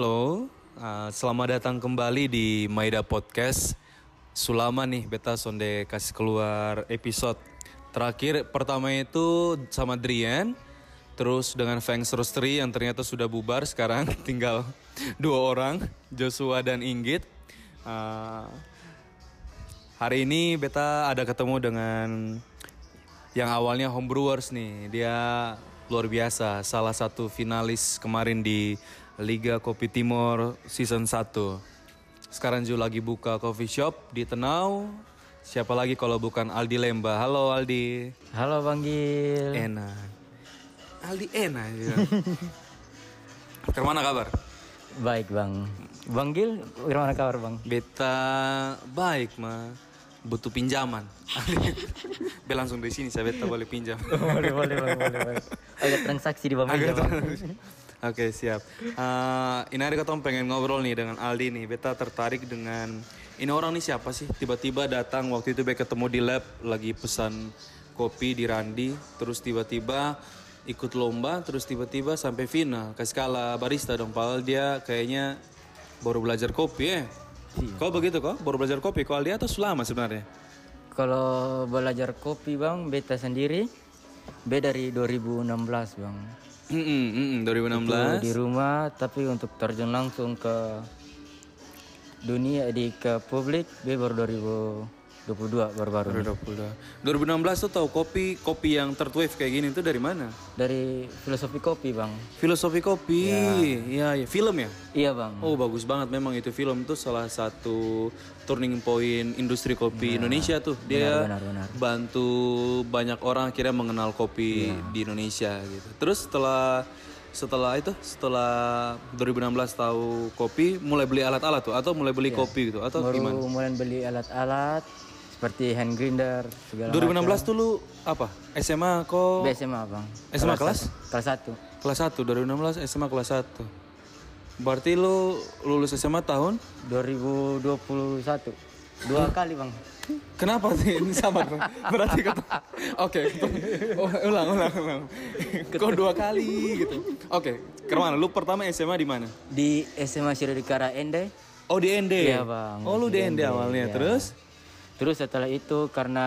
Halo, uh, selamat datang kembali di Maida Podcast. Sulama nih, beta sonde kasih keluar episode terakhir. Pertama itu sama Drian, terus dengan Feng Rostri yang ternyata sudah bubar sekarang tinggal dua orang, Joshua dan Inggit. Uh, hari ini beta ada ketemu dengan yang awalnya homebrewers nih. Dia luar biasa, salah satu finalis kemarin di Liga Kopi Timur season 1. Sekarang juga lagi buka coffee shop di Tenau. Siapa lagi kalau bukan Aldi Lemba. Halo Aldi. Halo Bang Gil. Enak. Aldi enak. Ya. Kemana kabar? Baik Bang. Bang Gil, gimana kabar Bang? Beta baik mah. Butuh pinjaman. Be langsung dari sini saya beta boleh pinjam. boleh, boleh Bang, boleh, boleh. Agak transaksi di bawah meja Agak Bang. Iya, Oke siap. Eh, ini hari ketemu pengen ngobrol nih dengan Aldi nih. Beta tertarik dengan ini orang nih siapa sih? Tiba-tiba datang waktu itu beta ketemu di lab lagi pesan kopi di Randi. Terus tiba-tiba ikut lomba. Terus tiba-tiba sampai final. Kasih kalah barista dong. Padahal dia kayaknya baru belajar kopi ya. Kau begitu kok? Baru belajar kopi. Kau Aldi atau selama sebenarnya? Kalau belajar kopi Bang, beta sendiri B dari 2016 Bang. Mm-mm, mm-mm, 2016. Di rumah tapi untuk terjun langsung ke dunia di ke publik B baru 2022 baru-baru. 2022. ini. 2016 tuh tahu kopi kopi yang third wave kayak gini itu dari mana? Dari filosofi kopi Bang. Filosofi kopi, ya, ya. film ya. Iya Bang. Oh bagus banget memang itu film tuh salah satu turning point industri kopi Indonesia tuh dia Benar benar. bantu banyak orang akhirnya mengenal kopi Ya. di Indonesia gitu. Terus setelah setelah itu setelah 2016 tahu kopi mulai beli alat-alat tuh atau mulai beli kopi gitu atau Ya. Baru gimana? mulai beli alat-alat seperti hand grinder segala 2016 tuh lu apa SMA kok BSMA bang SMA kelas? kelas 1 Kelas 1 2016 SMA kelas 1. Berarti lu lulus SMA tahun? 2021 dua kali bang Kenapa sih ini sama dong? Berarti kata Oke, oh, ulang ulang ulang. Kau dua kali gitu. Oke, kemana? Lu pertama SMA di mana? di SMA Sirodikara Ende Oh di ND. Iya, Bang. Oh lu di ND awalnya, terus? terus setelah itu karena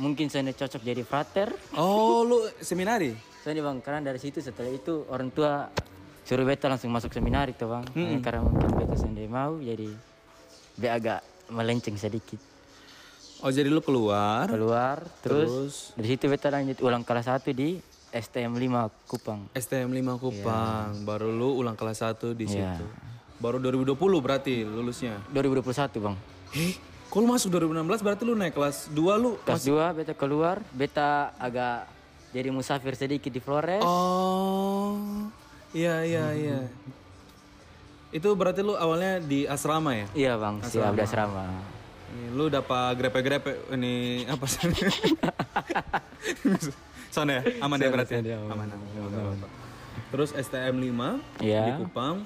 mungkin saya tidak cocok jadi frater Oh lu seminari? soalnya bang karena dari situ setelah itu orang tua suruh beta langsung masuk seminari tuh bang Eh, karena mungkin beta sendiri mau jadi be agak melenceng sedikit Oh jadi lu keluar keluar terus, Terus? dari situ beta lanjut ulang kelas 1 di STM 5 Kupang STM 5 Kupang, baru lu ulang kelas 1 di Iya. situ. Baru 2020 berarti lulusnya. 2021 bang Eh, kalau masuk 2016 berarti lu naik kelas 2 lu kelas 2 beta keluar beta agak jadi musafir sedikit di Flores Oh, iya iya iya. Itu berarti lu awalnya di asrama ya? iya bang siap di asrama Ini, Lu dapat grepe-grepe ini apa sih? Sana ya, aman ya berarti. ya? Aman, aman, aman, Ya. aman. Terus STM 5 di Iya. Kupang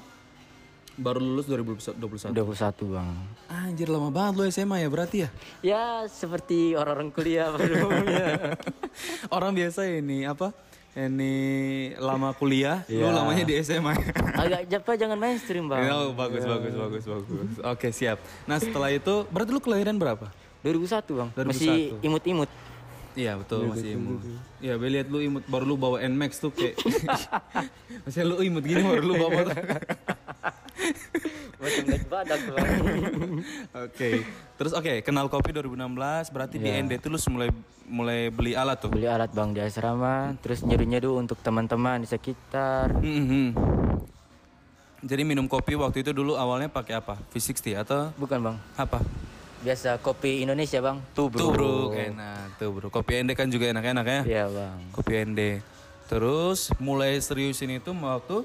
baru lulus 2021. 21 bang Anjir lama banget lu SMA ya berarti ya? ya seperti orang-orang kuliah pada umumnya Orang biasa ini apa? Ini lama kuliah, lu lamanya di SMA. agak japa jangan mainstream bang Oh, bagus, bagus, bagus, bagus. Oke, siap. Nah, setelah itu, berarti lu kelahiran berapa? 2001 bang masih imut-imut Iya, betul, masih imut. Iya, gue lihat lu imut, baru lu bawa Nmax tuh kayak... Masih lu imut gini, baru lu bawa tuh. macam naik badak bang Oke, terus oke, kenal kopi 2016, berarti di ND itu lu mulai mulai beli alat tuh? beli alat bang di asrama terus nyedu-nyedu untuk teman-teman di sekitar Mhm. Jadi minum kopi waktu itu dulu awalnya pakai apa? V60 atau bukan bang apa? biasa kopi Indonesia bang tubruk Tubruk, enak, tubruk. Kopi ND kan juga enak-enak ya? iya bang Kopi ND. Terus mulai seriusin itu waktu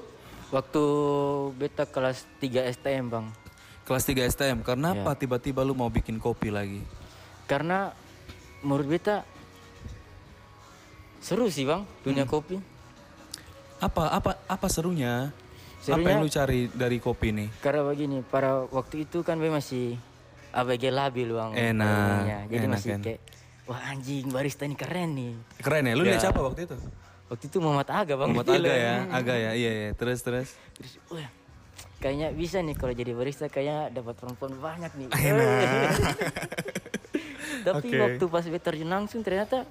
Waktu beta kelas 3 STM bang kelas 3 STM. Kenapa Iya. tiba-tiba lu mau bikin kopi lagi? Karena menurut beta Seru sih bang dunia kopi Apa apa apa serunya? Apa Serunya- yang lu cari dari kopi nih? Karena begini para waktu itu kan be masih ABG labil Enak, bang namanya. Jadi enak, masih enak. kayak Wah anjing barista ini keren nih Keren ya, lu Iya. lihat siapa waktu itu? Waktu itu Muhammad Aga bang Muhammad Aga ya, Aga ya, iya iya. Terus terus. Terus, wah, kayaknya bisa nih kalau jadi barista kayaknya dapat perempuan banyak nih. Tapi nah. Oke. waktu pas beta terjun langsung ternyata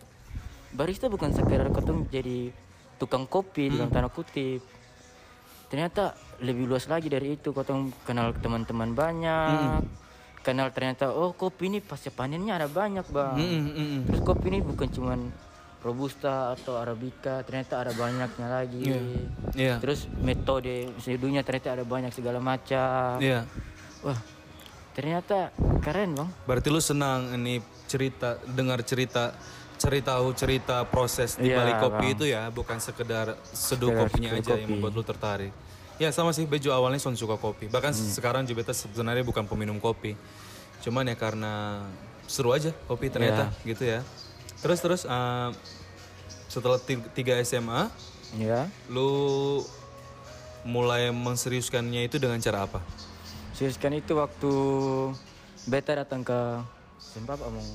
barista bukan sekedar ketemu jadi tukang Hmm. kopi dalam tanda kutip. Ternyata lebih luas lagi dari itu, ketemu kenal teman-teman Hmm. banyak. Kenal ternyata oh kopi ini pasca panennya ada banyak, Bang. Mm, mm, mm. Terus kopi ini bukan cuman robusta atau arabica, ternyata ada banyaknya lagi. Iya. Terus metode seduhnya ternyata ada banyak segala macam. Iya. Wah, ternyata keren bang. Berarti lu senang ini cerita dengar cerita cerita tahu cerita proses di Iya, balik kopi Bang. itu ya, bukan sekedar seduh Sekedar kopinya seduh aja yang kopi. membuat lu tertarik. Ya sama sih Bejo awalnya son suka kopi. Bahkan Hmm. sekarang juga beta sebenarnya bukan peminum kopi. Cuman ya karena seru aja kopi ternyata Iya. gitu ya. Terus terus eh, setelah 3 SMA Ya. lu mulai menseriuskannya itu dengan cara apa? Seriuskan itu waktu beta datang ke Sumpah Pak, omong.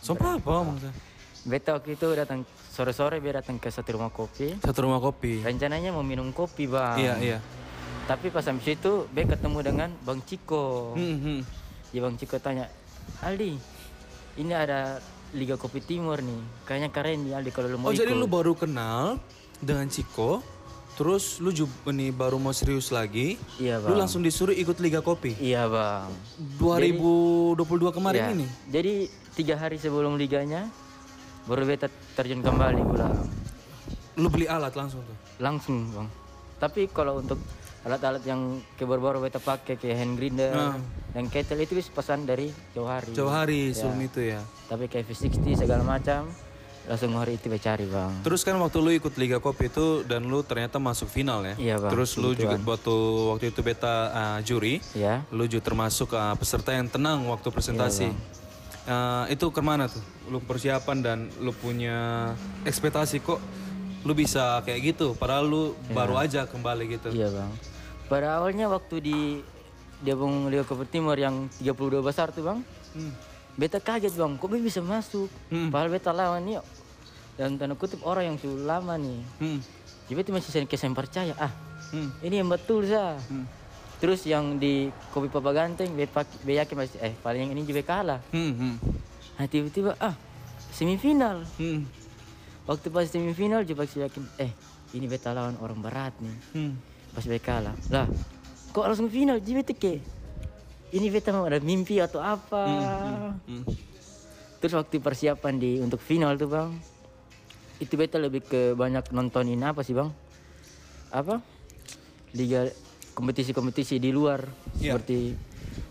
Sumpah apa maksudnya? Beta waktu itu datang sore-sore dia datang ke satu rumah kopi. Satu rumah kopi. Rencananya mau minum kopi bang. Iya, iya. Tapi pas habis itu dia ketemu dengan Bang Ciko. Hmm, hmm. Ya Bang Ciko tanya, Aldi, ini ada Liga Kopi Timur nih. Kayaknya keren nih Aldi kalau lu Oh, mau jadi ikut." lu baru kenal dengan Ciko, terus lu juga nih baru mau serius lagi, Iya lu bang. langsung disuruh ikut Liga Kopi Iya bang. 2022 kemarin Ya, ini. Jadi tiga hari sebelum liganya baru beta terjun kembali pulang Lu beli alat langsung tuh. langsung bang. Tapi kalau untuk alat-alat yang ke baru-baru beta pakai kayak hand grinder dan kettle itu bisa pesan dari jauh hari. Jauh hari sebelum itu ya. Tapi kayak V60 segala macam langsung hari itu beta cari bang. Terus kan waktu lu ikut Liga Kopi itu dan lu ternyata masuk final ya. Iya, Bang. Terus lu juga waktu waktu itu beta uh, juri, Ya. lu juga termasuk uh, peserta yang tenang waktu presentasi. Uh, itu kemana tuh? Lu persiapan dan lu punya ekspektasi kok lu bisa kayak gitu padahal lu baru aja kembali gitu. Iya bang. Pada awalnya waktu di Diabung Liga Koper Timur yang 32 besar tuh bang, Hmm. beta kaget bang, kok beta bisa masuk? Padahal beta lawan nih dalam tanda kutip orang yang sudah lama nih. Hmm. Jadi beta masih sen- kesen percaya ah Hmm. ini yang betul sah. Terus yang di kopi Papa Ganteng, beta, pak- beta yakin masih eh paling yang ini juga kalah. Hmm. Hmm. Nah tiba-tiba ah semifinal. Hmm. Waktu pas semifinal juga saya yakin eh ini beta lawan orang berat nih. Hmm. Pas beta kalah. Lah, kok langsung final JBTK? Ini beta mau ada mimpi atau apa? Hmm. Terus waktu persiapan di untuk final tuh bang, itu beta lebih ke banyak nontonin apa sih bang? Apa? Liga kompetisi-kompetisi di luar Iya. seperti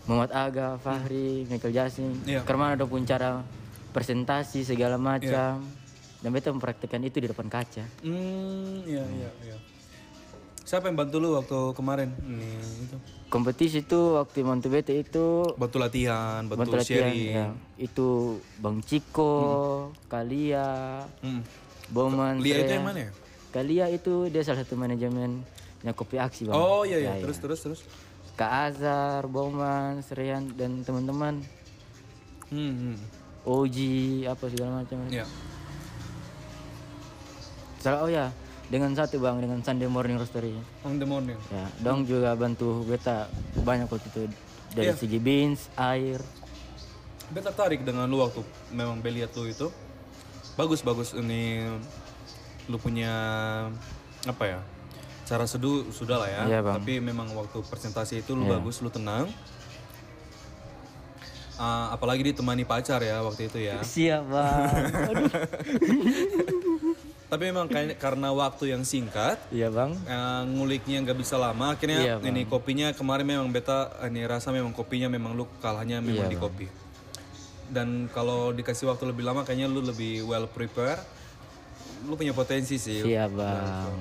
Muhammad Aga, Fahri, Michael Jasin, Iya. karena ada pun cara presentasi segala macam. Iya. Dan beta mempraktikkan itu di depan kaca. Hmm, iya, iya, iya. Siapa yang bantu lu waktu kemarin? Nih, itu. Kompetisi itu waktu mantu beta itu Bantu latihan, iya. bantu, Bantu latihan, sharing. ya. Itu Bang Ciko, Kalia, Hmm. Boman. Lia itu Trea. yang mana ya? Kalia itu dia salah satu manajemennya Kopi Aksi bang. Oh iya iya, terus terus terus. Kak Azhar, Boman, Serian dan teman-teman Hmm, hmm. Oji apa segala macam. Iya. Salah oh ya dengan satu bang dengan Sunday Morning Roastery. On the morning. Ya, dong juga bantu beta banyak waktu itu dari segi beans, air. Gue tertarik dengan lu waktu memang gue lihat lu itu. Bagus bagus ini lu punya apa ya? Cara seduh sudah lah ya. Iya, Bang. Iya. Tapi memang waktu presentasi itu lu bagus, lu tenang. Ah, apalagi ditemani pacar ya waktu itu ya. Siap bang. Aduh. Tapi memang kay- karena waktu yang singkat, Iya bang. Eh, nguliknya nggak bisa lama Iya, akhirnya ini kopinya kemarin memang beta ini rasa memang kopinya memang lu kalahnya memang di kopi dan kalau dikasih waktu lebih lama kayaknya lu lebih well prepare lu punya potensi sih Siap bang.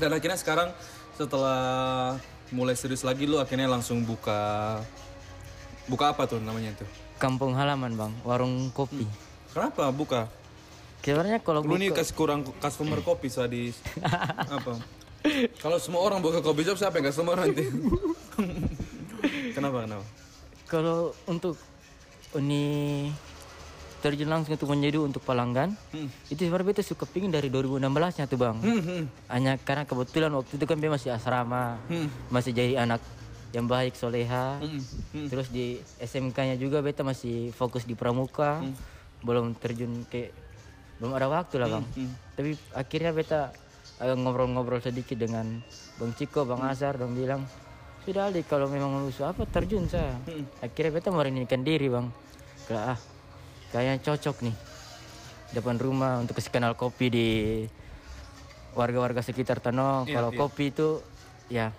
dan akhirnya sekarang setelah mulai serius lagi lu akhirnya langsung buka buka apa tuh namanya itu Kampung halaman bang, warung kopi. kenapa buka Hmm. Sebenarnya kalau lu bu- nih kasih kurang customer kopi tadi apa kalau semua orang buka kopi shop siapa yang customer nanti kenapa kenapa kalau untuk ini terjun langsung untuk menyeduh untuk pelanggan itu sebenarnya beta suka pingin dari 2016 nya tuh bang Hmm. hanya karena kebetulan waktu itu kan beta masih asrama masih jadi anak yang baik soleha Hmm. terus di SMK nya juga beta masih fokus di pramuka belum terjun ke belum ada waktu lah bang tapi akhirnya beta eh, ngobrol-ngobrol sedikit dengan bang Ciko bang Azhar dan bilang sudah Ali kalau memang lu apa terjun saya akhirnya beta merenikan diri bang Kala, ah kayaknya cocok nih depan rumah untuk kasih kenal kopi di warga-warga sekitar Tanong kalau kopi itu ya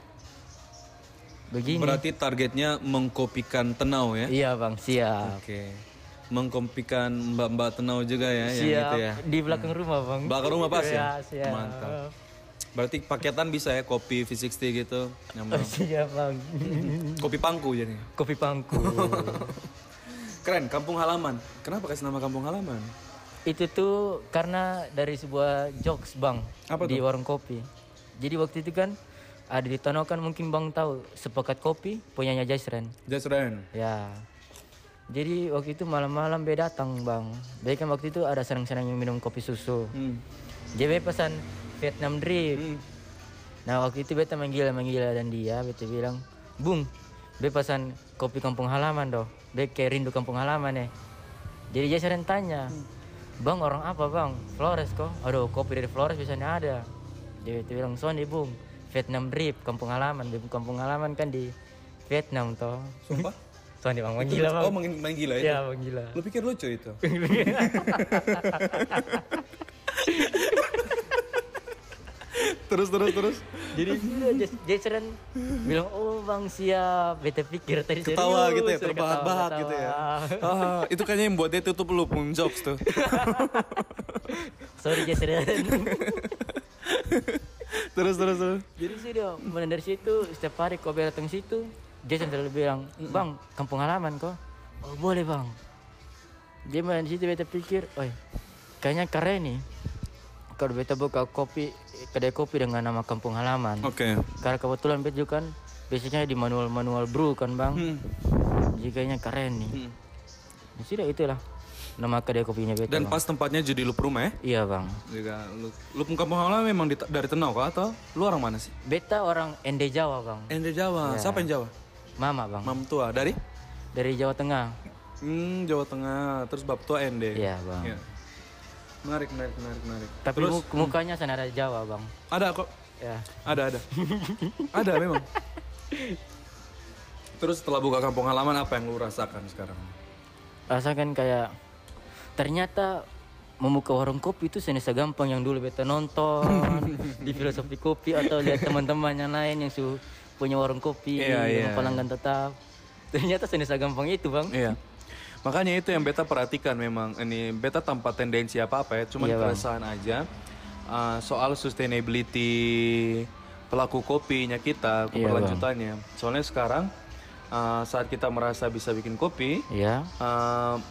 begini Berarti targetnya mengkopikan Tenau ya? iya bang siap Oke. Mengkopikan mbak-mbak Tenau juga ya yang siap itu ya. di belakang rumah bang Iya, Bakar rumah pas ya? siap Mantap. Berarti paketan bisa ya kopi V60 gitu. Nyaman. siap bang kopi pangku jadi. kopi pangku Keren, kampung halaman. Kenapa kasih nama kampung halaman? itu tuh karena dari sebuah jokes bang Apa di warung kopi jadi waktu itu kan ada di Tono kan mungkin bang tahu sepakat kopi punyanya Jaisren Just Ren. ya jadi waktu itu malam-malam be datang bang be kan waktu itu ada senang-senang yang minum kopi susu Hmm. dia be pesan Vietnam drip nah waktu itu beta menggila-menggila dan dia beta bilang bung be pesan kopi kampung halaman doh be kayak rindu kampung halaman ya jadi dia sering tanya bang orang apa bang Flores kok aduh kopi dari Flores biasanya ada dia itu bilang Sony bung Vietnam drip kampung halaman Bung, kampung halaman kan di Vietnam toh Sumpah? Sony bang menggila bang Oh, main, main gila itu. ya menggila Lu pikir lucu itu? terus terus terus. jadi Jason bilang oh bang siap beta pikir tadi Ketawa serius." gitu ya, Ketawa, terbahak-bahak gitu ya. ketawa. Ah, itu kayaknya yang buat dia tutup lu pun jokes tuh. sorry Jason terus terus terus. jadi sudah mulai dari situ setiap hari kau datang situ Jason selalu bilang bang kampung halaman kok oh boleh bang dia mulai dari situ beta pikir oi kayaknya keren nih kalau beta buka kopi kedai kopi dengan nama kampung halaman Oke. Karena kebetulan Bet juga kan biasanya di manual-manual brew kan bang. Hmm. Jadi kayaknya keren nih. Hmm. Ya sudah itulah nama kedai kopinya Bet. Dan bang. pas tempatnya jadi lu rumah ya? Iya bang. Juga lu lu pun kampung halaman memang di- dari Tenau kah atau lu orang mana sih? Beta orang Ende Jawa bang. Ende Jawa. Siapa yang Jawa? Mama bang. Iya. Mam tua dari? Dari Jawa Tengah. Hmm, Jawa Tengah. Terus bab tua Ende. Iya bang. Iya. Menarik, menarik, menarik, menarik. Tapi mu- mukanya senada Jawa bang. Ada kok. Ya. Ada, ada. ada memang. Terus setelah buka kampung halaman apa yang lu rasakan sekarang? Rasakan kayak ternyata membuka warung kopi itu senesa gampang yang dulu beta nonton di filosofi kopi atau lihat teman-teman yang lain yang su punya warung kopi Iya, iya. dengan pelanggan tetap ternyata senesa gampang itu bang Iya. Makanya itu yang beta perhatikan memang ini beta tanpa tendensi apa-apa ya, cuman keresahan aja uh, soal sustainability pelaku kopinya kita keberlanjutannya. Soalnya sekarang uh, saat kita merasa bisa bikin kopi, Iya, uh,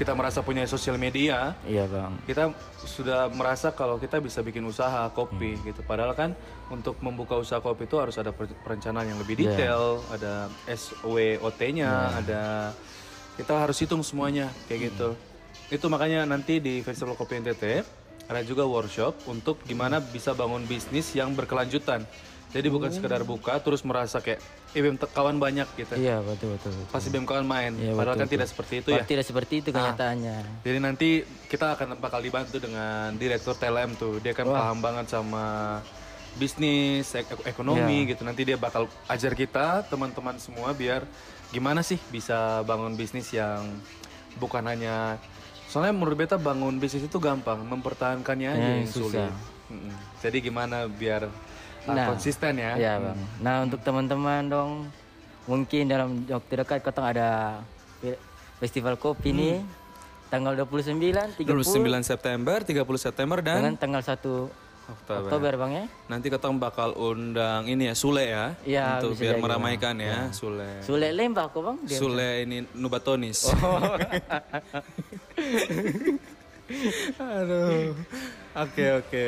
kita merasa punya sosial media, iya bang. kita sudah merasa kalau kita bisa bikin usaha kopi gitu padahal kan untuk membuka usaha kopi itu harus ada per- perencanaan yang lebih detail ada SWOT-nya ada kita harus hitung semuanya kayak gitu itu makanya nanti di Festival Kopi NTT ada juga workshop untuk gimana bisa bangun bisnis yang berkelanjutan jadi bukan sekedar buka terus merasa kayak eh Bim, te- kawan banyak gitu Iya betul betul. betul. pasti BEM kawan main padahal kan tidak seperti itu ya Tidak seperti itu kenyataannya. jadi nanti kita akan bakal dibantu dengan direktur TLM tuh. Dia kan paham banget sama bisnis, ek- ekonomi gitu. Nanti dia bakal ajar kita teman-teman semua biar gimana sih bisa bangun bisnis yang bukan hanya soalnya menurut beta bangun bisnis itu gampang, mempertahankannya aja yang sulit. Mm-mm. Jadi gimana biar uh, konsisten ya? Iya bang. Nah untuk teman-teman dong, mungkin dalam waktu dekat katong ada fe- festival kopi nih Hmm. tanggal 29, 30 29 September, 30 September dan dengan tanggal 1 Oktober. Oktober bang ya. Nanti kita bakal undang ini ya Sule ya, Iya, untuk bisa biar jadi, meramaikan ya, Sule. Sule lembah kok bang. Dia- Sule ini Oh. Nubatonis. Aduh. Oke oke.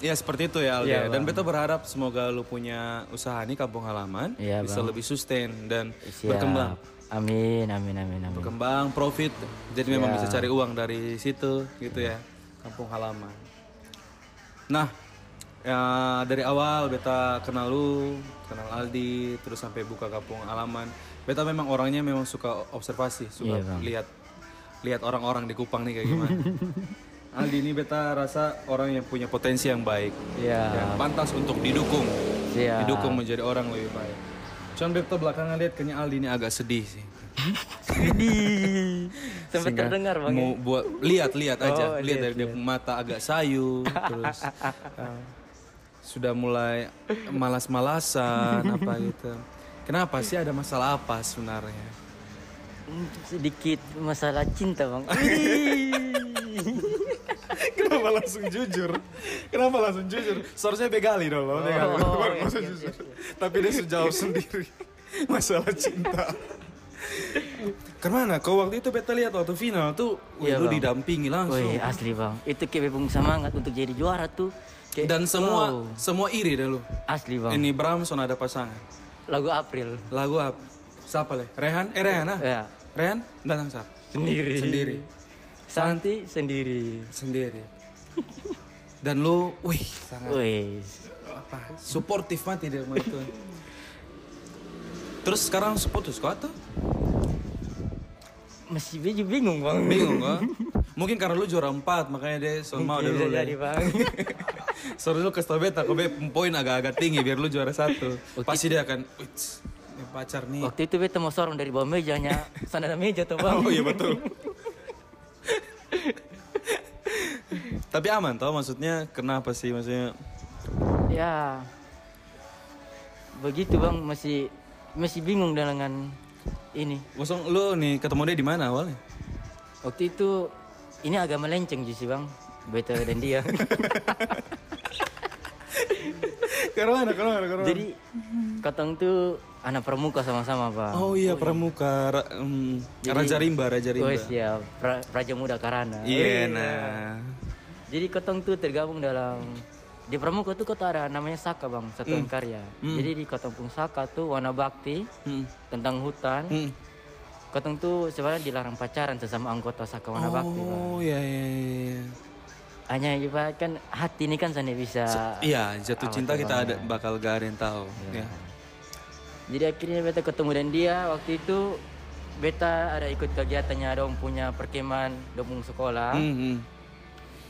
Ya seperti itu ya Alda. Iya, dan Beto berharap semoga lu punya usaha nih kampung halaman Iya, bisa Bang. lebih sustain dan Siap. berkembang, Amin, amin, amin, amin. berkembang profit. Jadi memang Iya. bisa cari uang dari situ gitu ya kampung halaman. Nah ya, dari awal Beta kenal lu, kenal Aldi, terus sampai buka kampung halaman. Beta memang orangnya memang suka observasi, suka Iya, Bang. lihat lihat orang-orang di Kupang nih kayak gimana. Aldi ini beta rasa orang yang punya potensi yang baik Iya, dan pantas untuk didukung. siap. Didukung menjadi orang lebih baik. Cuman beta belakangan lihat kayaknya Aldi ini agak sedih sih. Sempat Sehingga terdengar bang. Mau buat lihat-lihat aja, Oh, lihat lihat, dari dia mata agak sayu, terus eh, sudah mulai malas-malasan apa gitu. Kenapa sih ada masalah apa sebenarnya? Hmm, Sedikit masalah cinta bang. Kenapa langsung jujur? Kenapa langsung jujur? Seharusnya begali dong loh, begali. Oh, Baru iya, langsung iya, jujur. Tapi dia sudah jawab sendiri masalah cinta. Kemana? Kau waktu itu beta lihat waktu final tuh, wih, Iya, lu Bang. didampingi langsung. Woi asli bang, itu kayak bebung semangat untuk jadi juara tuh. Kayak, Dan semua wow, semua iri dah lu. asli bang. Ini Bramson ada pasangan. Lagu April. Lagu apa? Siapa leh? Rehan? Eh Rehan ah? Ya. Rehan? Datang siapa? Sendiri. Sendiri. Santi sendiri. Sendiri. Dan lu, wih, sangat Woi, apa suportif mati dia sama itu terus sekarang seputus kok atau masih bingung bingung bang. bingung kok mungkin karena lu juara empat makanya dia son mau Bisa dulu ya. jadi bang. Sorry lu kasih tau beta, kok Beb, poin agak-agak tinggi biar lu juara satu. Pasti dia akan, wits, ini pacar nih. Waktu itu beta mau sorong dari bawah mejanya, sana ada meja tuh bang. Oh iya betul. Tapi aman tau maksudnya kenapa sih maksudnya Ya, begitu bang masih masih bingung dengan ini. Maksudnya lu nih ketemu dia di mana awalnya? Waktu itu ini agak melenceng justru bang, beta dan dia. Karena mana, karena mana, karena mana? Jadi katong tuh anak pramuka sama-sama bang. Oh iya pramuka, ra- mm, Raja Rimba, Raja Rimba. Wes ya, pra- Raja Muda Karana. Iya, nah. Jadi kotong tuh tergabung dalam di Pramuka tuh kota ada namanya Saka bang Satuan Karya. Jadi di kotong Pung Saka tuh warna bakti Hmm. tentang hutan. Hmm. Kotong tuh sebenarnya dilarang pacaran sesama anggota Saka warna bakti bang. Oh iya iya iya. Hanya ibarat kan hati ini kan sana bisa. Iya, jatuh cinta kita ada bakal gak ada yang tahu. Iya. Ya. Jadi akhirnya beta ketemu dan dia waktu itu beta ada ikut kegiatannya ada orang punya perkemahan dong sekolah. Hmm, hmm.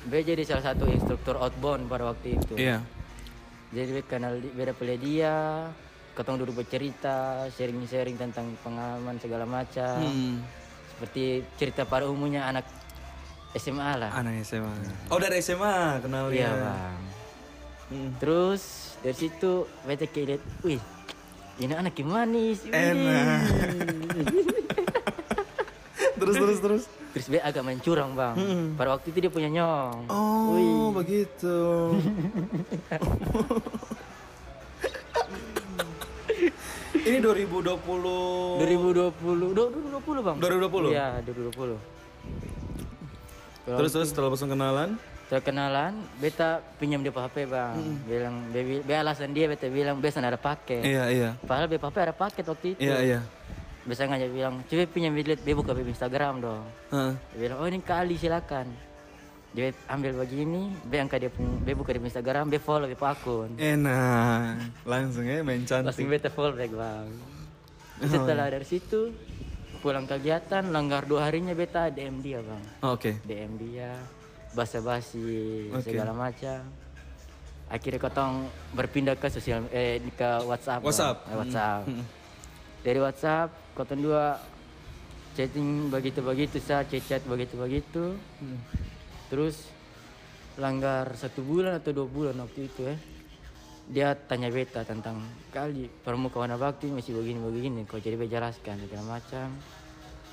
Beta jadi salah satu instruktur outbound pada waktu itu. Iya. Nah. Jadi beta kenal di- beda pula dia, ketemu duduk bercerita, sharing-sharing tentang pengalaman segala macam. Hmm. Seperti cerita pada umumnya anak SMA lah. Anak SMA. Oh dari SMA kenal dia. Iya, Bang. Hmm. Terus dari situ beta kayak lihat, wih, ini anak yang manis. wih." Enak. terus terus terus. Terus beta agak mencurang, Bang. Pada waktu itu dia punya Hmm. nyong. Oh begitu. Ini 2020. 2020, do- 2020, Bang. 2020? Iya, 2020. Terus terus setelah langsung kenalan. Terkenalan, beta pinjam dia HP bang, bilang, be, be- be alasan dia beta bilang biasa ada paket. Iya iya. Padahal beta HP ada paket waktu itu. Iya iya. Biasa ngajak bilang, coba pinjam duit, be buka be Instagram dong. Hah. Dia bilang, oh ini kali silakan. Dia ambil begini, be angkat dia, punya- be buka di Instagram, be follow be akun. Iya, Enak. Langsung ya main Langsung cantik. beta follow back bang. Oh, Setelah iya. dari situ pulang kegiatan, langgar dua harinya beta DM dia bang. Oh, Oke. DM dia basa-basi Oke. segala macam akhirnya kotong berpindah ke sosial eh ke WhatsApp Bang. WhatsApp. Hmm. Eh, WhatsApp dari WhatsApp kotong dua chatting begitu-begitu saya chat begitu-begitu Hmm. terus langgar satu bulan atau dua bulan waktu itu ya dia tanya beta tentang kali permukaan bakti masih begini-begini kok jadi bejelaskan segala macam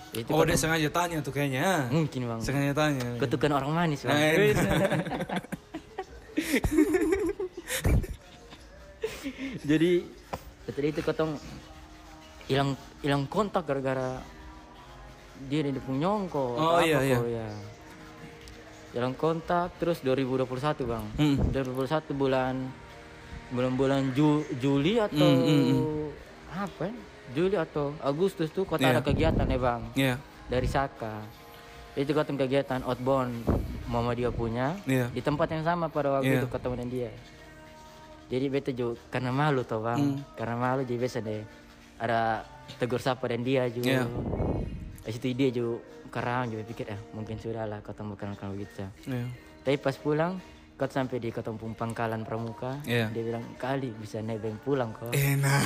itu Oh dia sengaja tanya tuh kayaknya. Hmm. mungkin bang Sengaja tanya. Kutukan Iya. orang manis bang. Nah, ini. Jadi setelah itu ketong hilang hilang kontak gara-gara dia di punya nyongko. atau Oh, iya, apa iya. kok, ya. jalan kontak terus 2021 bang Hmm. 2021 bulan bulan bulan Ju- Juli atau Mm, apa ya? Juli atau Agustus tuh kota ada kegiatan ya bang Iya. dari Saka itu ketemu kegiatan outbound mama dia punya Iya. di tempat yang sama pada waktu Iya. itu ketemu dengan dia jadi bete juga karena malu toh bang Hmm. karena malu jadi biasa deh ada tegur sapa dan dia juga Iya. Dari situ dia juga kerang juga pikir eh mungkin sudah lah ketemu kenal kenal gitu Iya. tapi pas pulang kau sampai di ketemu pangkalan pramuka Iya. dia bilang kali bisa nebeng pulang kok Enak.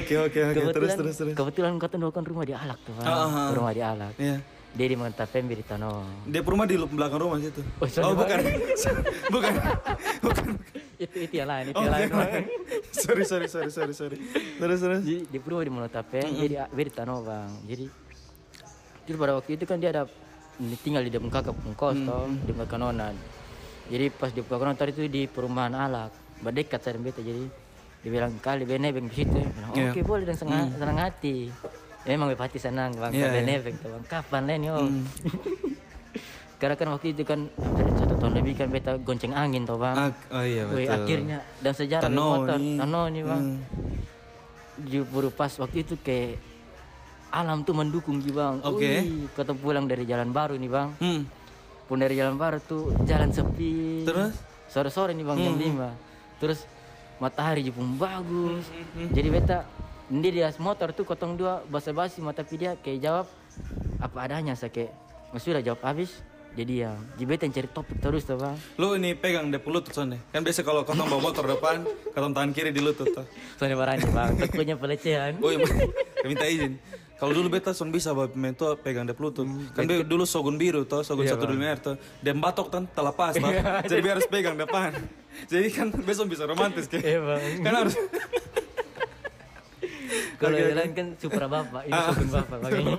Oke oke oke terus kebetulan terus terus. kebetulan kau tuh kan rumah di alak tuh bang Ah, ah, ah. rumah di alak Iya. dia di Mantapem di Tano. Dia rumah di belakang rumah situ. Oh, sorry, Bang. bukan. bukan. Bukan. itu itu yang lain, itu Oh, yang lain. bukan. sorry sorry sorry sorry sorry. Terus terus. Jadi di Purwo di Mantapem, jadi di Tano bang. Jadi jadi pada waktu itu kan dia ada tinggal di depan kakak pengkos toh, di depan kanonan. Jadi pas di kakak nonan tadi itu di perumahan Alak, berdekat saya dengan beta. Jadi dia bilang kali benebeng di situ. Dia bilang, Oke Iya. boleh dan senang, senang hati. Ya, memang bepati senang bang, Iya, iya. yeah, Mm. benebeng tuh bang. Kapan lain om? Karena kan waktu itu kan ada satu tahun lebih kan beta gonceng angin toh bang. Ah, oh iya Wih, betul. akhirnya dan sejarah Tano Tano motor nih. Hmm. Tano nih bang Jubur pas waktu itu kayak alam tuh mendukung gitu bang Oke. Wih, kata pulang dari jalan baru nih bang Hmm. pun dari jalan baru tuh jalan sepi Terus? Hmm. sore-sore nih bang jam lima terus matahari juga pun bagus Hmm, jadi beta ini dia motor tuh kotong dua basa-basi mata dia kayak jawab apa adanya saya kayak "Oh, sudah jawab habis jadi ya jadi beta yang cari topik terus tuh bang Lu ini pegang deh lutut soalnya. Kan biasa kalau kotong bawa motor depan, kotong tangan kiri di lutut. tuh. soalnya barangnya bang takutnya pelecehan Oh iya, saya minta izin. Kalau dulu beta son bisa bawa pemain tua pegang dep lutut. Hmm. Kan be- dulu Shogun Biru toh, Shogun Iya, satu dulu tuh. Dan batok kan terlepas toh. Jadi biar harus pegang depan. Jadi kan besok bisa romantis kan. Iya, Bang. Kan harus Kalau yang lain kan supra bapak, ini supra bapak makanya.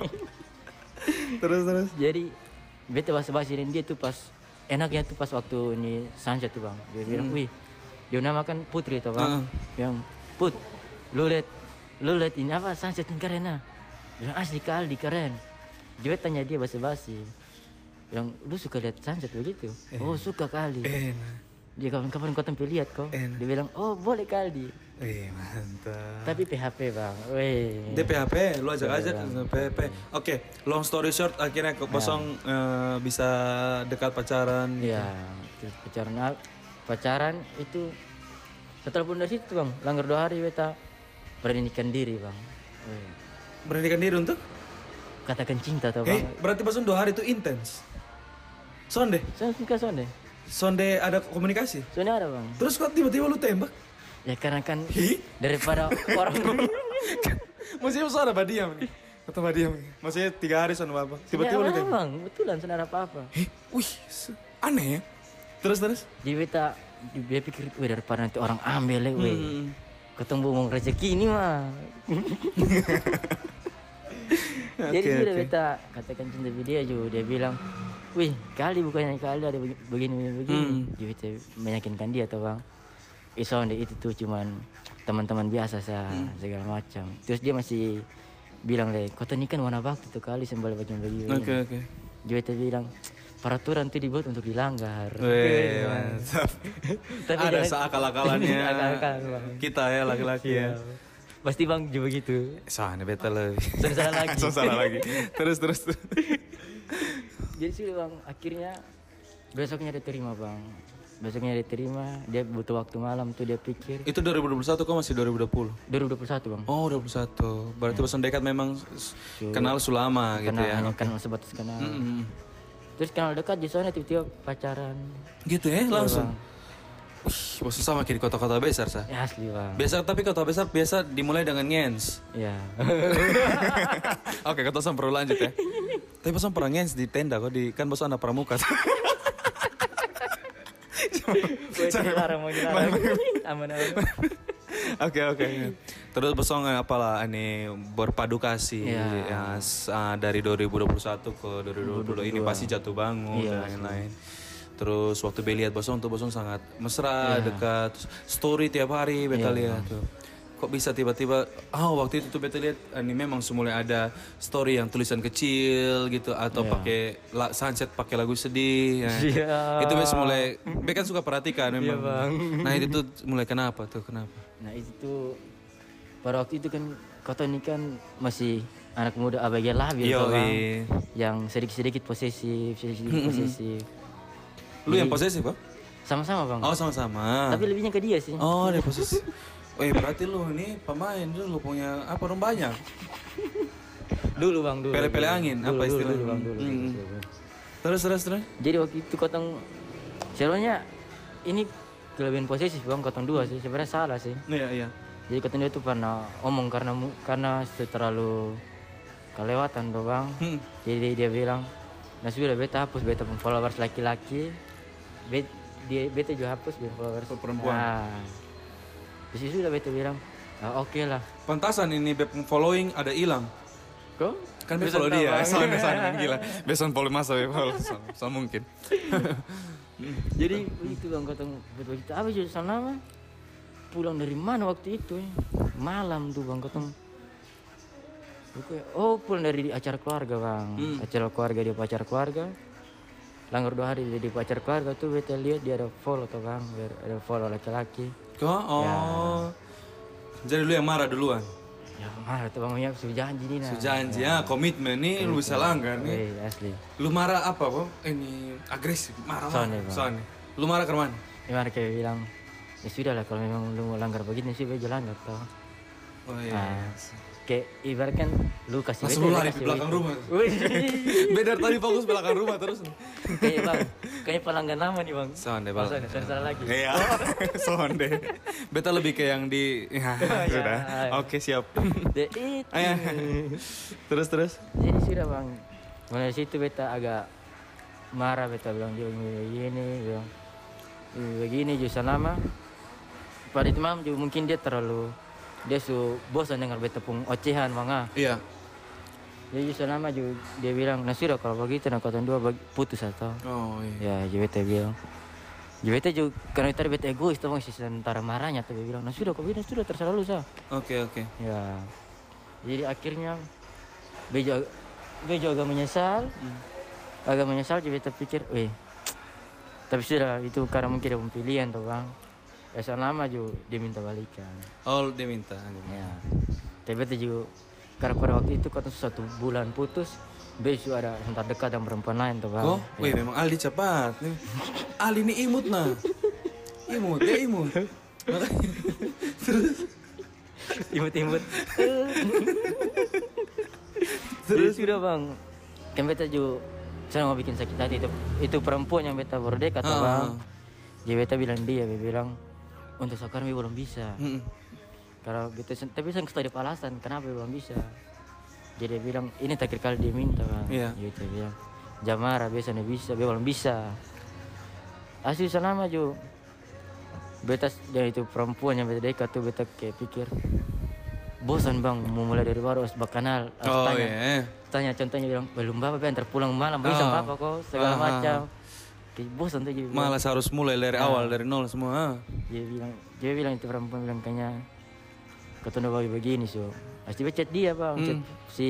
terus terus. Jadi beta bahasa basi dia tuh pas enaknya tuh pas waktu ini sunset tuh bang. Dia bilang, wih, dia namakan Putri tuh bang. Yang Put, lu liat, lu liat ini apa sunset ini keren ah. Dia bilang asli kali keren. Dia tanya dia bahasa basi. Bilang, lu suka lihat sunset begitu? Oh suka kali. Eh. Dia kapan-kapan kau tampil lihat kok. Dia bilang, oh boleh kali. Wih, mantap. Tapi PHP bang, weh. DPHP, lu ajak ajak PHP. Oke, long story short akhirnya ke kosong eh, bisa dekat pacaran. Iya, terus pacaran al- pacaran itu setelah pun dari situ bang, langgar dua hari beta beranikan diri bang. Wih. Beranikan diri untuk? Katakan cinta tuh Eh, bang. berarti pas dua hari itu intens. Sonde, Soalnya suka soalnya, sonde ada komunikasi. soalnya ada bang. Terus kok tiba-tiba lu tembak? Ya karena kan Hi? daripada orang Maksudnya suara apa diam nih? Atau apa diam nih? Maksudnya tiga hari sama apa? Tiba-tiba Ya, lu orang, tembak? bang, betulan soalnya ada apa-apa. Hih, Iya. Eh, wih, se- aneh ya? Terus, terus? Jadi beta dia pikir, wih daripada nanti orang ambil, eh, wih. Hmm. Ketemu mau rezeki ini mah. Jadi Oke, sudah oke. beta katakan cinta sama dia juga dia bilang, wih kali bukannya kali ada begini begini begini. Hmm. Jadi beta meyakinkan dia tuh bang. Ison itu tuh cuman teman-teman biasa sah Hmm. segala macam. Terus dia masih bilang deh, kau tuh ini kan warna bakti tuh kali sembal baju baju. Oke, oke. Jadi beta bilang, peraturan tuh dibuat untuk dilanggar. Weh, mantap. Tapi ada jangan- seakal-akalannya Akal-akal, Bang. kita ya laki-laki Iya. ya. Pasti bang juga gitu. Sana beta lebih. Salah lagi. salah lagi. Terus, terus, terus. Jadi sih bang, akhirnya besoknya diterima bang. Besoknya diterima, dia butuh waktu malam tuh dia pikir. Itu 2021 kok masih 2020? 2021 bang, Oh 21 Berarti Iya. pesan dekat memang s- kenal Sulama gitu kenal ya hanya kenal sebatas kenal. Terus kenal dekat di sana tiba-tiba pacaran. Gitu ya langsung Iya, Wih, maksud sama kayak di kota-kota besar sah Ya asli bang, Biasa tapi kota besar biasa dimulai dengan ngens ya. Oke kota Sam perlu lanjut ya Tapi pesan pernah ngens di tenda kok di Kan pesan anak pramuka Gue dilarang mau dilarang. Aman aman. Oke oke Terus pesan eh, apalah ini berpadukasi Iya. ya, s- ah, Dari 2021 ke 2020 ini pasti jatuh bangun dan Iya, lain-lain Terus waktu Iya. beliat lihat Bosong tuh Bosong sangat mesra, dekat Story tiap hari beta lihat tuh kok bisa tiba-tiba ah waktu itu tuh beta lihat eh, ini memang semula ada story yang tulisan kecil gitu atau pakai la, sunset pakai lagu sedih ya. Iya. itu beta mulai beta kan suka perhatikan memang nah itu tuh mulai kenapa tuh kenapa Nah itu tuh pada waktu itu kan kota ini kan masih anak muda abg labil tuh, Bang. Yoi. yang sedikit-sedikit posesif, sedikit-sedikit posesif. lu yang posesif pak Sama-sama bang. oh sama-sama Tapi lebihnya ke dia sih. Oh, dia posisi. Eh, berarti lu ini pemain dulu punya apa orang banyak. Dulu bang dulu. Pele-pele angin apa istilahnya? Bang, dulu, Mm. Terus terus terus. Jadi waktu itu kotong sebenarnya ini kelebihan posesif bang kotong dua sih sebenarnya salah sih. Iya, iya. Jadi kotong dua itu pernah omong karena mu- karena sudah terlalu kelewatan tuh bang. Hmm. Jadi dia bilang, nah sudah beta hapus beta pun followers laki-laki, bet dia beta juga hapus dia followers Oh, perempuan. Nah, Terus itu sudah beta bilang, "Ah, oke lah, Pantasan ini beb following ada hilang. kok Kan beb Bisa follow dia. tabang. Soalnya sana kan gila. Besan follow masa beb follow. Sama mungkin. Jadi itu bang gitu kata betul kita apa sih sana Pulang dari mana waktu itu? ya? Malam tuh bang kata. Oh pulang dari acara keluarga bang, Hmm. acara keluarga dia pacar keluarga. Langgar dua hari dia di pacar keluarga tuh beta lihat dia ada follow tuh bang, dia ada follow laki-laki. Kok oh. Jadi lu yang marah duluan. Ya marah tuh bang, ya sudah janji nih nah. Janji ya, komitmen nih lu bisa langgar nih. Weh, asli. Lu marah apa, Bang? Ini agresif, marah. Soalnya, Bang. Soalnya. Lu marah ke mana? Gimana kayak bilang, ya sudah lah kalau memang lu mau langgar begini sih beta langgar tuh. Oh iya. Kayak ibaratkan lu kasih Langsung lu beta, beta lari di kasih belakang beta. rumah. Wih. Beda tadi fokus belakang rumah terus. Kayaknya bang, kayaknya pelanggan lama nih bang. Sonde Oh, sorry, sorry, salah lagi. Iya, sonde. Beta lebih ke yang di ya, sudah. Oke, siap. The it. Ayah. terus terus. Jadi sudah bang. Mulai dari situ beta agak marah beta bilang dia begini, bilang "Eh, begini jurusan lama. Pada itu mam juga mungkin dia terlalu dia su bosan dengar beta pung ocehan manga. Iya. Jadi jurusan lama juga dia bilang, nah sudah kalau begitu nah kota dua bagi- putus atau. Oh iya. Ya, jadi beta bilang. Jadi beta juga karena itu beta egois tuh bang, sementara marahnya tuh dia bilang, nah sudah kau bilang sudah terserah lu sah. Oke oke. Ya. Jadi akhirnya Bejo Bejo agak menyesal. Agak menyesal jadi beta pikir, weh. Tapi sudah itu karena mungkin ada pilihan tuh bang. Esok lama juga dia minta balikan. All dia minta. Ya. Tapi beta juga karena pada waktu itu kata satu bulan putus, besok ada sebentar dekat dengan perempuan lain tuh bang. Oh, weh memang Aldi cepat nih. Aldi ini imut nah. Imut, dia imut. Makanya- imut-imut terus sudah bang kan beta juga saya mau bikin sakit hati itu itu perempuan yang beta baru dekat Ah. tuh, bang jadi beta bilang dia beta bilang untuk sekarang beta belum bisa Mm-mm. kalau beta sen- tapi saya kasih tahu alasan kenapa beta belum bisa jadi dia bilang ini terakhir kali dia minta bang Iya. jadi dia bilang jamara biasanya bisa beta belum bisa asli selama juga beta s- dari itu perempuan yang beta dekat tuh beta kayak pikir bosan bang mau mulai dari baru harus berkenal harus Oh tanya iya. tanya contohnya bilang belum bapak ben terpulang malam bisa Oh. bapak kok Ah, segala ah, macam Kayak bosan tuh jadi bilang. Malas harus mulai dari Nah. awal dari nol semua. ah. dia bilang dia bilang itu perempuan bilang kayaknya ketunda bagi begini so pasti beta chat dia bang Hmm. chat si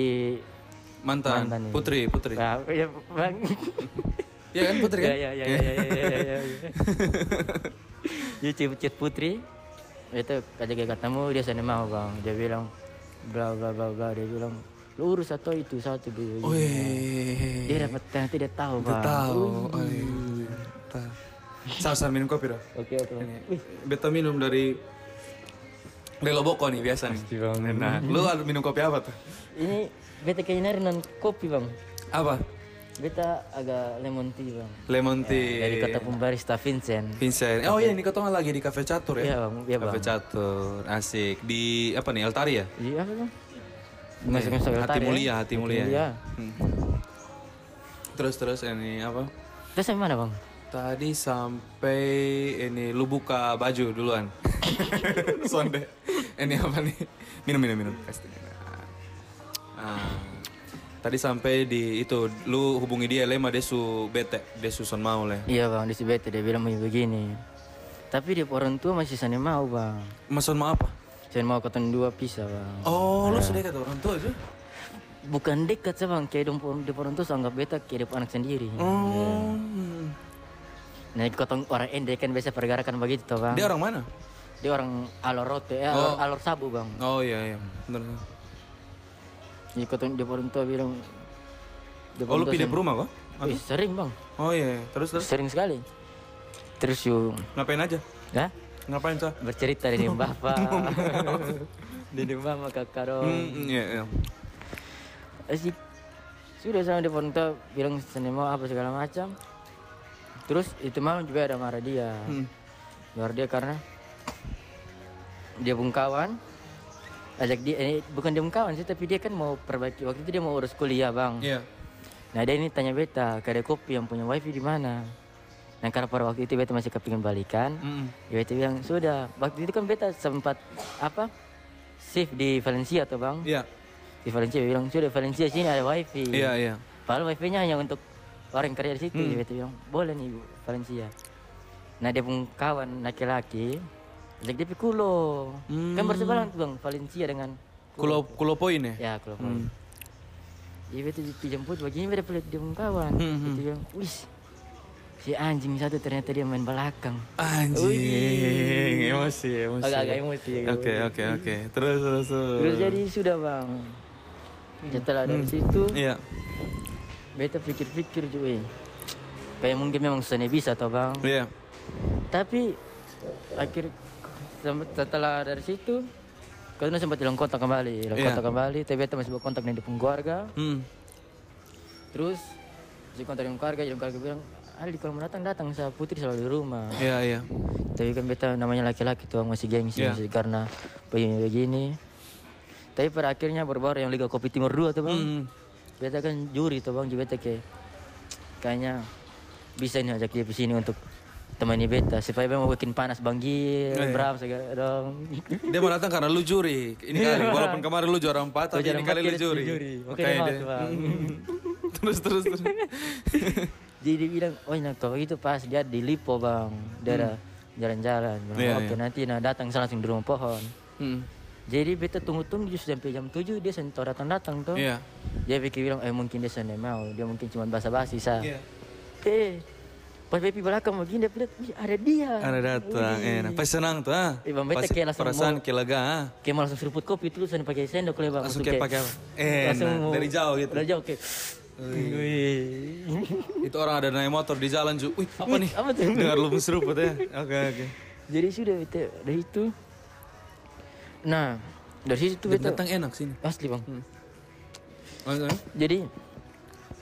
Mantan, Mantan, iya. Putri, Putri. Nah, ya, bang Iya kan Putri ya kan? ya ya ya ya ya ya, ya, ya. dia chat- chat putri itu kata dia ketemu dia sana mau bang dia bilang bla bla bla bla dia bilang lu urus satu itu satu dulu Wih. dia dapat nanti dia tahu Iya, bang Tahu. Oh, iya. Tahu. Sama-sama minum kopi dong. oke oke Ini, Beta minum dari Lelo Boko nih biasa nih. Nah, lu ada minum kopi apa tuh? ini beta kayaknya nyari non kopi bang Apa? beta agak lemon tea bang Lemon Eh, dari tea. kota pembarista Vincent Vincent. Oh iya, ini ketemu lagi di Cafe Catur ya? Iya, Bang. Iya, Bang. Cafe Catur, asik. Di apa nih, Altari ya? iya apa bang ya. masuk masuk Iya, Hati mulia, hati mulia. Hmm. Terus terus ini apa? terus sampai mana bang Tadi sampai ini lu buka baju duluan. Sonde. Ini apa nih? Minum minum minum. Kasih dia. Ah. Tadi sampai di itu lu hubungi dia lema dia su bete, dia su son mau leh. iya bang di Sibete dia bilang begini tapi dia orang tua masih sana mau bang Mas son mau apa? Sen mau kotong dua pisah bang. Oh, lu sudah kata orang tua itu? Bukan dekat sih bang, kayak dong di orang tua anggap beta kayak depan anak sendiri. Oh. Nah kotong orang ende kan biasa pergerakan begitu toh bang. Dia orang mana? Dia orang alor rote, eh, alor, alor sabu bang. Oh iya iya, bener. Jadi kotong di orang tua bilang. dia Oh, lu orang tua pindah sen- rumah kok? Wih, sering bang, Oh iya, iya. terus terus sering sekali. Terus yuk, ngapain aja? ya Ngapain sah? bercerita dengan bapak, dengan mama kakak dong. Hmm, iya iya. Asik. Eh, Sudah sama dia pun tahu, bilang sinema apa segala macam. Terus itu mah juga ada marah dia. Hmm. Marah dia karena dia pun kawan ajak dia eh, bukan dia pun kawan sih tapi dia kan mau perbaiki waktu itu dia mau urus kuliah bang Iya. nah dia ini tanya beta kedai kopi yang punya wifi di mana nah karena pada waktu itu beta masih kepingin balikan Mm-mm. ya beta bilang sudah waktu itu kan beta sempat apa shift di Valencia tuh bang Iya. di Valencia dia bilang sudah Valencia sini ada wifi Iya iya. Padahal wifi-nya hanya untuk orang yang kerja di situ. Dia bilang, boleh nih Bu, Valencia. Nah dia pun kawan laki-laki, ajak dia pergi Kulo. Kan berseberangan tuh bang, Valencia dengan Kulo kulo poin ya? Ya Kulo. Hmm. Dia itu dijemput begini beda pelit dia pun kawan. Hmm, Dia bilang, wis si anjing satu ternyata dia main belakang. Anjing, emosi emosi. Agak-agak emosi. ya, Oke oke oke. Terus terus terus. Terus jadi sudah bang. Setelah dari situ, Iya. Hmm. beta pikir-pikir juga. eh, Kayak mungkin memang sana bisa toh bang. Iya. Tapi akhir sem- setelah dari situ karena sempat hilang kontak kembali, hilang Iya. kontak kembali, tapi kita masih berkontak dengan dia punya keluarga. Hmm. Terus masih kontak dengan keluarga, jadi keluarga bilang, Ali kalau mau datang datang, saya putri selalu di rumah. Iya iya. Tapi kan beta namanya laki-laki tuh masih gengsi Iya. masih karena begini begini. Tapi pada akhirnya baru-baru yang Liga Kopi Timur 2 tuh bang, Hmm. beta kan juri tuh bang, jadi beta kayak kayaknya bisa nih ajak dia ke sini untuk temani beta supaya memang bikin panas bang Gil, Iya, Bram segala dong. Dia mau datang karena lu juri. Ini kali Iya. walaupun kemarin lu juara 4 tapi ini kali lu juri. Makanya Makanya mau dia. tuh bang. Terus terus terus. Jadi dia bilang, oh nah kalau gitu pas dia di Lipo bang, dia ada jalan-jalan. Bilang, Hmm. Iya, Oke iya. nanti nah datang saya langsung di rumah pohon. Hmm. Jadi beta tunggu-tunggu justru sampai jam 7 dia sentor datang-datang tuh. Iya. Dia pikir bilang, eh mungkin dia sana mau, dia mungkin cuma basa-basi sa. Iya. Eh, pas Pepi belakang begini dia bilang, "Wih, ada dia. Ada datang, enak. Pas senang tuh, ah. Ih, Bang Pas Bete kayak langsung perasaan kayak lega, ah. Kayak mau langsung seruput kopi terus dan pakai sendok lebar. Langsung kayak pakai apa? Eh, enak. dari jauh gitu. Dari jauh kayak. Wih. Itu orang ada naik motor di jalan, Ju. Wih, apa nih? Apa tuh? Dengar lu seruput ya. Oke, oke. Jadi sudah bete dari itu. Nah, dari situ Dia bete Datang enak sini. asli bang. Hmm. Oh, iya. Jadi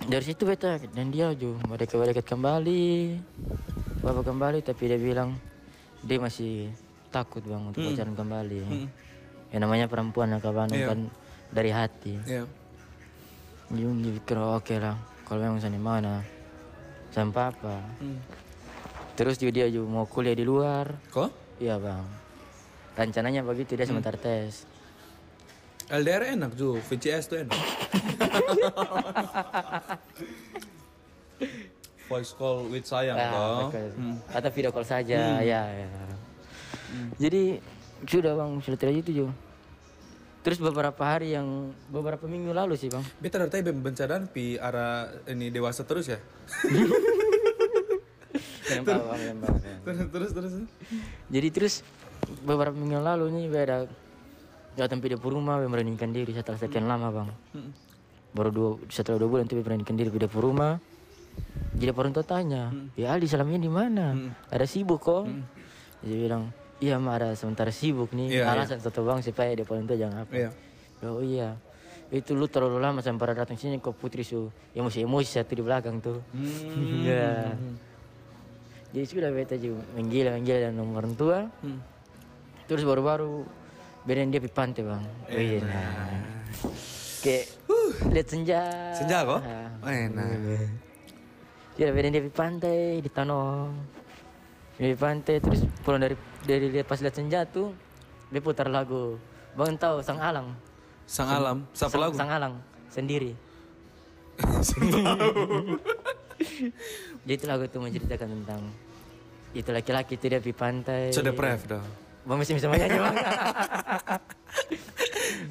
dari situ beta dan dia jo mereka dekat kembali. Bapak kembali tapi dia bilang dia masih takut bang untuk pacaran kembali. Ya namanya perempuan ya kawan kan dari hati. Iya. Dia mikir "Oh, oke lah kalau memang sana mana sama papa. Hmm. Terus juga dia juga mau kuliah di luar. Kok? Iya bang. Rencananya begitu dia sebentar tes. LDR enak, Ju. VCS tuh enak. Voice call with sayang, Ah, toh. oke. Atau video call saja, ya. ya. Jadi sudah bang sudah terjadi itu Jo. Terus beberapa hari yang beberapa minggu lalu sih bang. Beta dari tadi bencadan pi arah ini dewasa terus ya. Yang tahu, Bang, yang tahu, Bang. Terus terus terus. Jadi terus beberapa minggu lalu nih beda datang video ke rumah, be merendahkan diri setelah sekian lama bang. Baru dua setelah dua bulan tuh be merendahkan diri video ke rumah. Jadi orang tua tanya, ya Ali selama ini di mana? Ada sibuk kok? Dia bilang, iya ma ada sementara sibuk nih. Iya, Alasan satu bang supaya dia orang tua jangan apa. Iya. Oh iya, itu lu terlalu lama sampai pada datang sini kok putri su emosi emosi satu di belakang tuh. Iya. Jadi sudah beta juga menggila menggila dan nomor orang tua. Terus baru-baru beren dia pergi pantai bang. Iya. Kayak lihat senja. Senja kok? Ah. Enak. Sudah beren dia pergi pantai di Tanong. Dia pergi pantai terus pulang dari dari lihat pas lihat senja tuh dia putar lagu. Bang tahu Sang Alang. Sang alam, siapa Sang- lagu? Sang Alang sendiri. Jadi itu lagu itu menceritakan tentang itu laki-laki tidak di pantai. So depressed dong. Bang masih bisa nyanyi bang.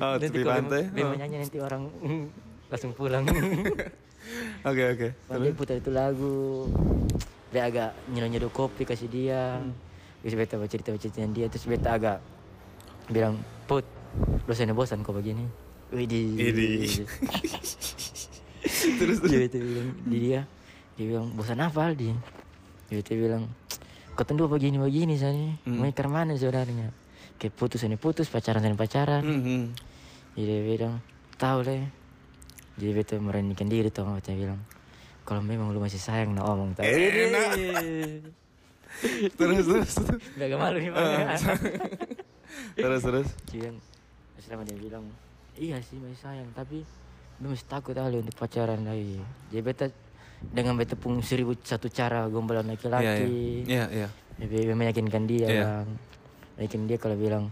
Oh, Nanti tepi kalau pantai. Bang mau nyanyi nanti orang langsung pulang. Oke oke. Bang dia putar itu lagu. Dia agak nyedoh-nyedoh kopi kasih dia. Terus beta baca cerita cerita dia terus beta agak bilang put dosennya bosan kok begini. Widih. Widih. terus dia beta bilang di dia dia bilang bosan apa Aldi? Dia beta bilang kau dua begini begini sani. Mau ikar mana saudaranya? Kayak putus ini putus pacaran ini pacaran. Mhm. hmm. Jadi dia bilang, tahu deh. Jadi beta meranikan diri tuh sama beta bilang, kalau memang lu masih sayang no omong Eh, tau. Enak. terus terus. Udah gak malu Eh, gimana. terus terus. Dia bilang, kan, terus lama dia bilang, iya sih masih sayang tapi lu masih takut kali untuk pacaran lagi. Jadi beta dengan beta pun seribu satu cara gombalan laki-laki. Iya iya. Iya iya. Lebih lebih meyakinkan dia Iya. bang. Meyakinkan dia kalau bilang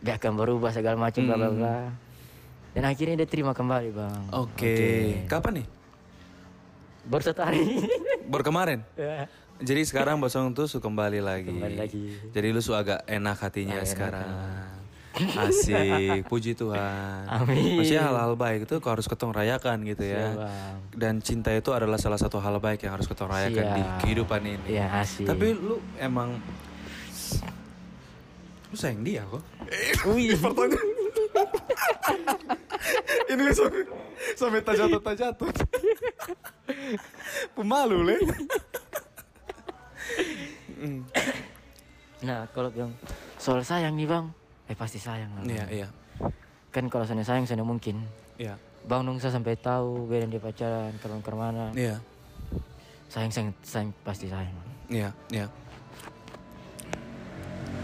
dia akan berubah segala macam bla bla bla. Hmm. Dan akhirnya dia terima kembali bang. Oke. Kapan nih? Baru satu hari. Baru kemarin. Ya. Jadi sekarang Bosong tuh su kembali lagi. Kembali lagi. Jadi lu su agak enak hatinya sekarang. Asik, puji Tuhan. Amin. Maksudnya hal-hal baik itu kau harus ketong rayakan gitu ya. Siap, Bang. Dan cinta itu adalah salah satu hal baik yang harus ketong rayakan di Siap. kehidupan ini. Iya asik. Tapi lu emang lu sayang dia kok. Wih. ini sampai sampai tajatut tajatut. Pemalu le. Nah kalau bilang soal sayang nih bang, eh pasti sayang lah. Bang. Iya iya Kan kalau sana sayang sana mungkin. iya Bang Nungsa sampai tahu gue dan dia pacaran kalau ke mana. iya Sayang sayang sayang pasti sayang. Bang. iya iya.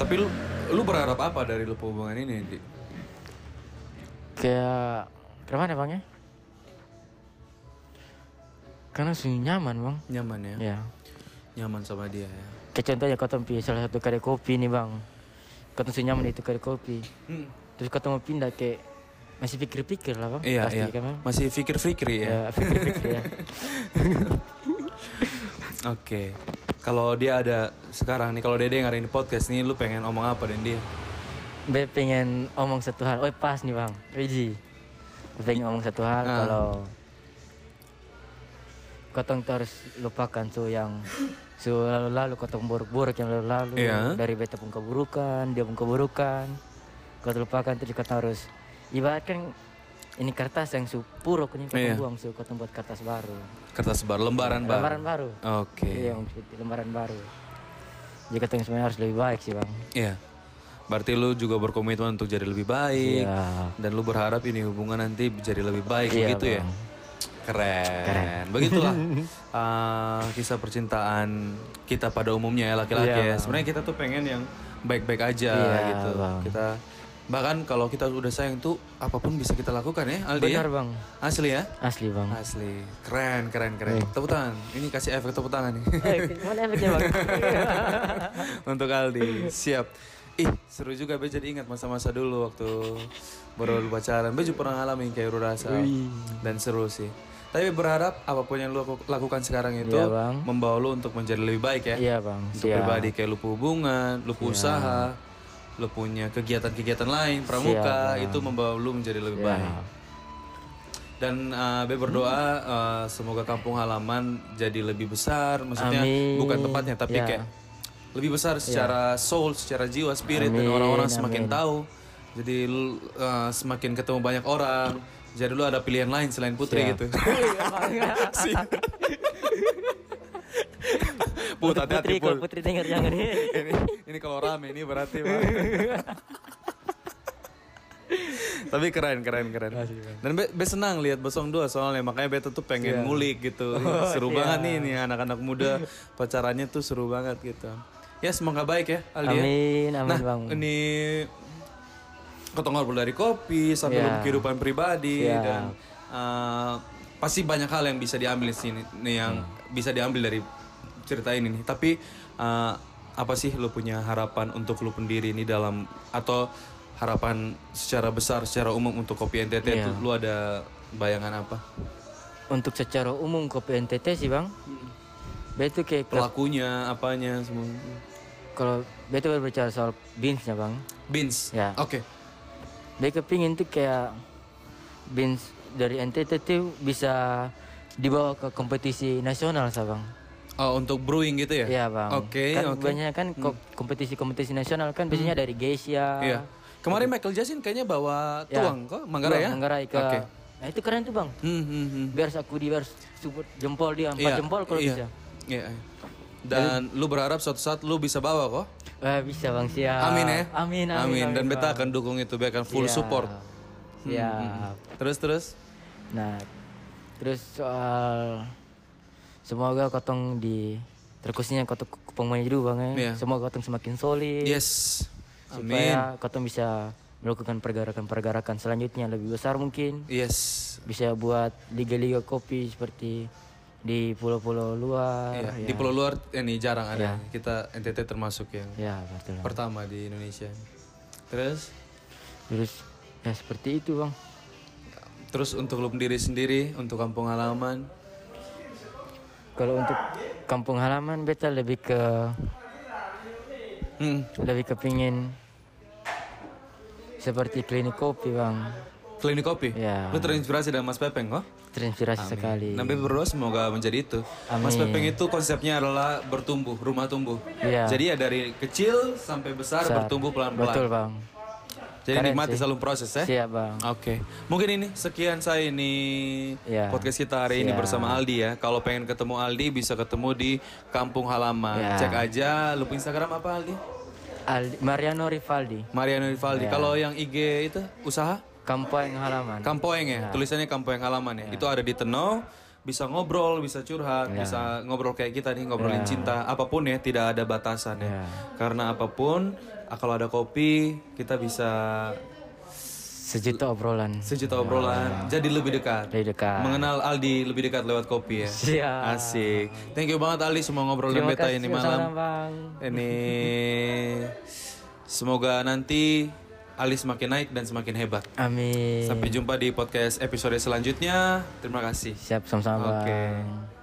Tapi lu lu berharap apa dari lu hubungan ini? Di? Kayak ke mana bang ya? Karena sunyi nyaman bang. Nyaman ya? Ya. Nyaman sama dia ya. Kayak contohnya kau tempi salah satu kedai kopi nih bang. Kau tuh sunyi nyaman itu kedai kopi. Hmm. Terus kau tuh mau pindah kayak masih pikir-pikir lah bang. Iya pasti, iya. Kan, bang? Masih pikir-pikir ya. Ya, pikir-pikir ya. Oke. Kalau dia ada sekarang nih, kalau Dede ngadain podcast nih, lu pengen omong apa dan dia? Be pengen omong satu hal. Oh pas nih bang, Wiji. Be pengen omong satu hal Ah. kalau kotong tuh harus lupakan tuh yang su lalu-lalu kotong buruk-buruk yang lalu-lalu Iya. dari beta pun keburukan, dia pun keburukan. Kau lupakan terus kau harus ibaratkan ini kertas yang su puruk ini kau Iya. Ah. buang su kau buat kertas baru. Kertas baru, lembaran baru. Lembaran baru. Oke. Iya, yang seperti lembaran baru. Jadi kotong semuanya harus lebih baik sih bang. Iya. Berarti lu juga berkomitmen untuk jadi lebih baik Iya. dan lu berharap ini hubungan nanti jadi lebih baik Iya, begitu ya. Bang. Keren. Begitulah eh, kisah percintaan kita pada umumnya ya laki-laki ya. Sebenarnya kita tuh pengen yang baik-baik aja Iya, gitu. Bang. Kita bahkan kalau kita udah sayang tuh apapun bisa kita lakukan ya Aldi. ya? Benar bang, Asli ya. asli bang. Asli, keren, keren, keren. Tepuk tangan. Ini kasih efek tepuk tangan nih. Eh, mana efeknya bang? iya. Untuk Aldi, siap. Ih, seru juga Be jadi ingat masa-masa dulu waktu baru lu pacaran. Be juga pernah ngalamin kayak Ru rasa dan seru sih. Tapi berharap apapun yang lu laku- lakukan sekarang itu Iya, Bang. membawa lu untuk menjadi lebih baik ya. Iya bang, Untuk siap. pribadi kayak lu punya hubungan, lu punya usaha, lu punya kegiatan-kegiatan lain, pramuka, itu membawa lu menjadi Iya. lebih baik. Dan eh, Be berdoa eh, semoga kampung halaman jadi lebih besar, maksudnya Amin. Iya. bukan tempatnya tapi Ya. kayak lebih besar secara soul, secara jiwa, spirit dan orang-orang semakin tahu. Jadi lu, eh, semakin ketemu banyak orang. Jadi lu ada pilihan lain selain putri gitu. Iya, Si- Put, Putri, hati-hati kalau Put. Putri dengar jangan ini. ini, ini kalau rame ini berarti Bang. Tapi keren keren keren. Dan be, Be senang lihat Besong 2 soalnya makanya Be tuh pengen ngulik gitu. seru banget nih nih anak-anak muda pacarannya tuh seru banget gitu. Ya semoga baik ya Aldi. ya. Amin, amin Nah, bang. ini ketong ngobrol dari kopi sampai Iya. kehidupan pribadi Iya. dan uh, pasti banyak hal yang bisa diambil di sini nih yang Hmm. bisa diambil dari cerita ini nih. Tapi uh, apa sih lu punya harapan untuk lu pendiri ini dalam atau harapan secara besar secara umum untuk kopi NTT itu Iya. lu ada bayangan apa? Untuk secara umum kopi NTT sih bang. Betul kayak Pelakunya apanya semua. kalau beta berbicara soal beansnya bang Beans. Ya. Oke. beta kepingin tuh kayak beans dari NTT tuh bisa dibawa ke kompetisi nasional sah bang Oh, untuk brewing gitu ya? Iya bang. Oke, Kan oke. banyak kan ko- kompetisi-kompetisi nasional kan biasanya dari Geisha. Iya. Kemarin Michael Jackson kayaknya bawa Ya. tuang kok Manggarai Bang, ya? Manggarai ke. Oke. Nah itu keren tuh bang. Hmm, hmm, hmm. Biar aku di biar support jempol dia Iya, empat jempol kalau iya. bisa. Iya. Dan lu berharap suatu saat lu bisa bawa kok? Eh, bisa bang siap. Amin ya. Amin amin. Dan amin, beta Bang. Iya. akan dukung itu, beta akan full Siap. support. Hmm, Siap. Terus terus. Nah terus soal semoga kotong di terkhususnya kotong pemain dulu bang Iya. ya. Semoga kotong semakin solid. Yes. Amin. Iya. Supaya kotong bisa melakukan pergerakan-pergerakan selanjutnya lebih besar mungkin. Yes. bisa buat liga-liga kopi seperti di pulau-pulau luar. Iya, Ya, Di pulau luar ini jarang Iya. ada. Kita NTT termasuk yang ya betul. Bang. pertama di Indonesia. Terus Terus ya seperti itu bang. terus untuk lu sendiri sendiri, untuk kampung halaman. Kalau untuk kampung halaman beta lebih ke Hmm. lebih kepingin seperti klinik kopi bang. Klinik kopi. Ya. Lu terinspirasi dari Mas Pepeng kok? Terinspirasi sekali. Nabi berdoa Nah, semoga menjadi itu. Mas Pepeng itu konsepnya adalah bertumbuh, rumah tumbuh. Iya. Jadi ya dari kecil sampai besar, bertumbuh Betul pelan-pelan. bang. Jadi nikmati selalu proses ya. Siap bang. Oke, mungkin ini sekian saya ini Iya. podcast kita hari ini Siap. bersama Aldi ya. Kalau pengen ketemu Aldi bisa ketemu di Kampung Halaman. Iya. Cek aja lu punya Instagram apa Aldi? Aldi- Mariano Rivaldi. Mariano Rivaldi. Iya. Kalau yang IG itu usaha? Kampung halaman. Kampoeng ya, tulisannya Kampoeng Halaman ya. Itu ada di Teno, bisa ngobrol, bisa curhat, bisa ngobrol kayak kita nih, ngobrolin cinta, apapun ya, tidak ada batasan ya. Karena apapun, ah, kalau ada kopi, kita bisa Sejuta obrolan. sejuta obrolan, jadi lebih dekat. Dari dekat. Mengenal Aldi lebih dekat lewat kopi ya. Siap. Asik. Thank you banget Aldi semua ngobrol dan Terima beta kasih ini sama-sama, malam. bang. Ini semoga nanti Ali semakin naik dan semakin hebat. Amin. Iya. Sampai jumpa di podcast episode selanjutnya. Terima kasih. Siap sama-sama. Oke. Bang.